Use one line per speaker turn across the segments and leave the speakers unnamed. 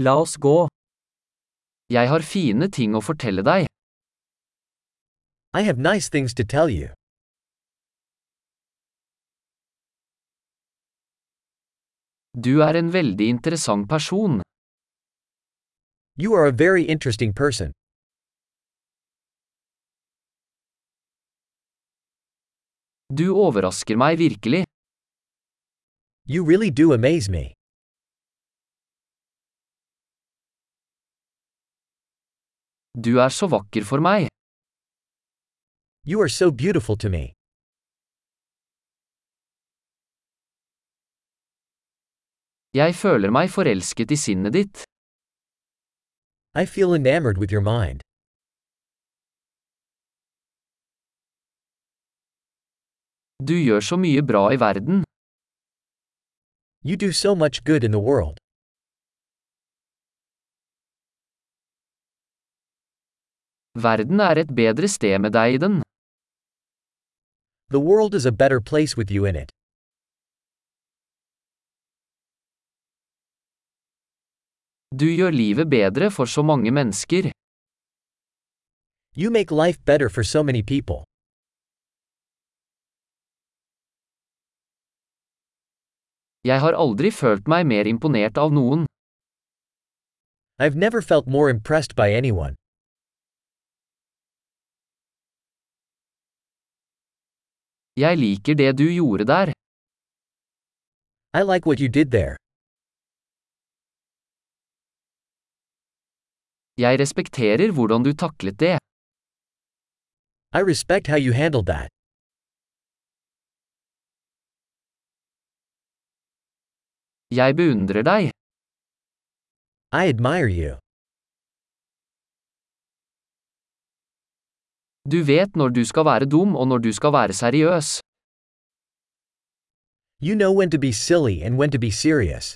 La oss gå. Jeg har fine ting å fortelle deg.
I have nice things to tell you.
Du er en veldig interessant person.
You are a very interesting person.
Du overrasker meg virkelig.
You really do amaze me.
Du er så vakker for meg.
You are so beautiful to me.
Jeg føler meg forelsket i sinnet ditt.
I feel enamored with your mind.
Du gjør så mye bra i verden.
You do so much good in the world.
Verden er et bedre sted med deg i den.
The world is a better place with you in it.
Du gjør livet bedre for så mange mennesker.
You make life better for so many people.
Jeg har aldri følt meg mer imponert av noen.
I've never felt more impressed by anyone.
Jeg liker det du gjorde der.
I like what you did there.
Jeg respekterer hvordan du taklet det.
I respect how you handled that.
Jeg beundrer deg.
I admire you.
Du vet når du skal være dum og når du skal være seriøs.
You know when to be silly and when to be serious.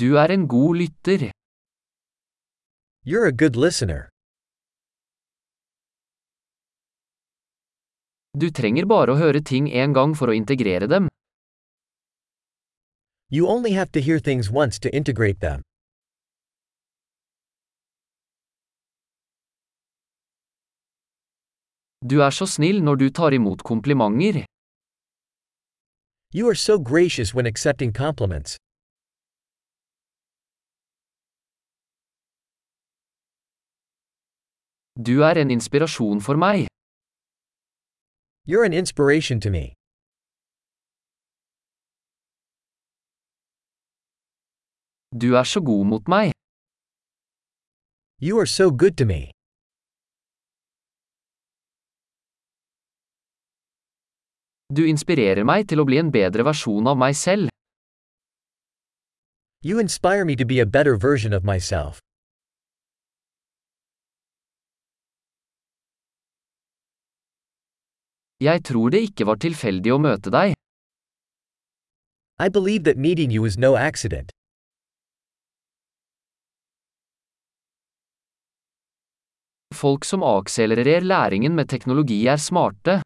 Du er en god lytter.
You're a good listener.
Du trenger bare å høre ting en gang for å integrere dem.
You only have to hear things once to integrate them.
Du er så snill når du tar imot komplimenter.
You are so gracious when accepting compliments.
Du er en inspirasjon for meg.
You're an inspiration to me.
Du er så god mot meg.
You are so good to me.
Du inspirerer meg til å bli en bedre versjon av meg selv.
You inspire me to be a better version of myself.
Jeg tror det ikke var tilfeldig å møte deg.
I believe that meeting you is no accident.
Folk som akselererer læringen med teknologi er smarte.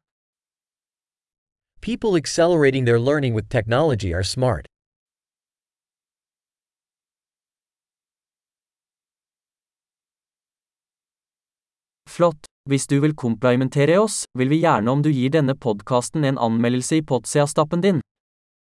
People accelerating their learning with technology are smart.
Flott. Hvis du vil komplimentere oss, vil vi gjerne om du gir denne podkasten en anmeldelse i Podseastappen din.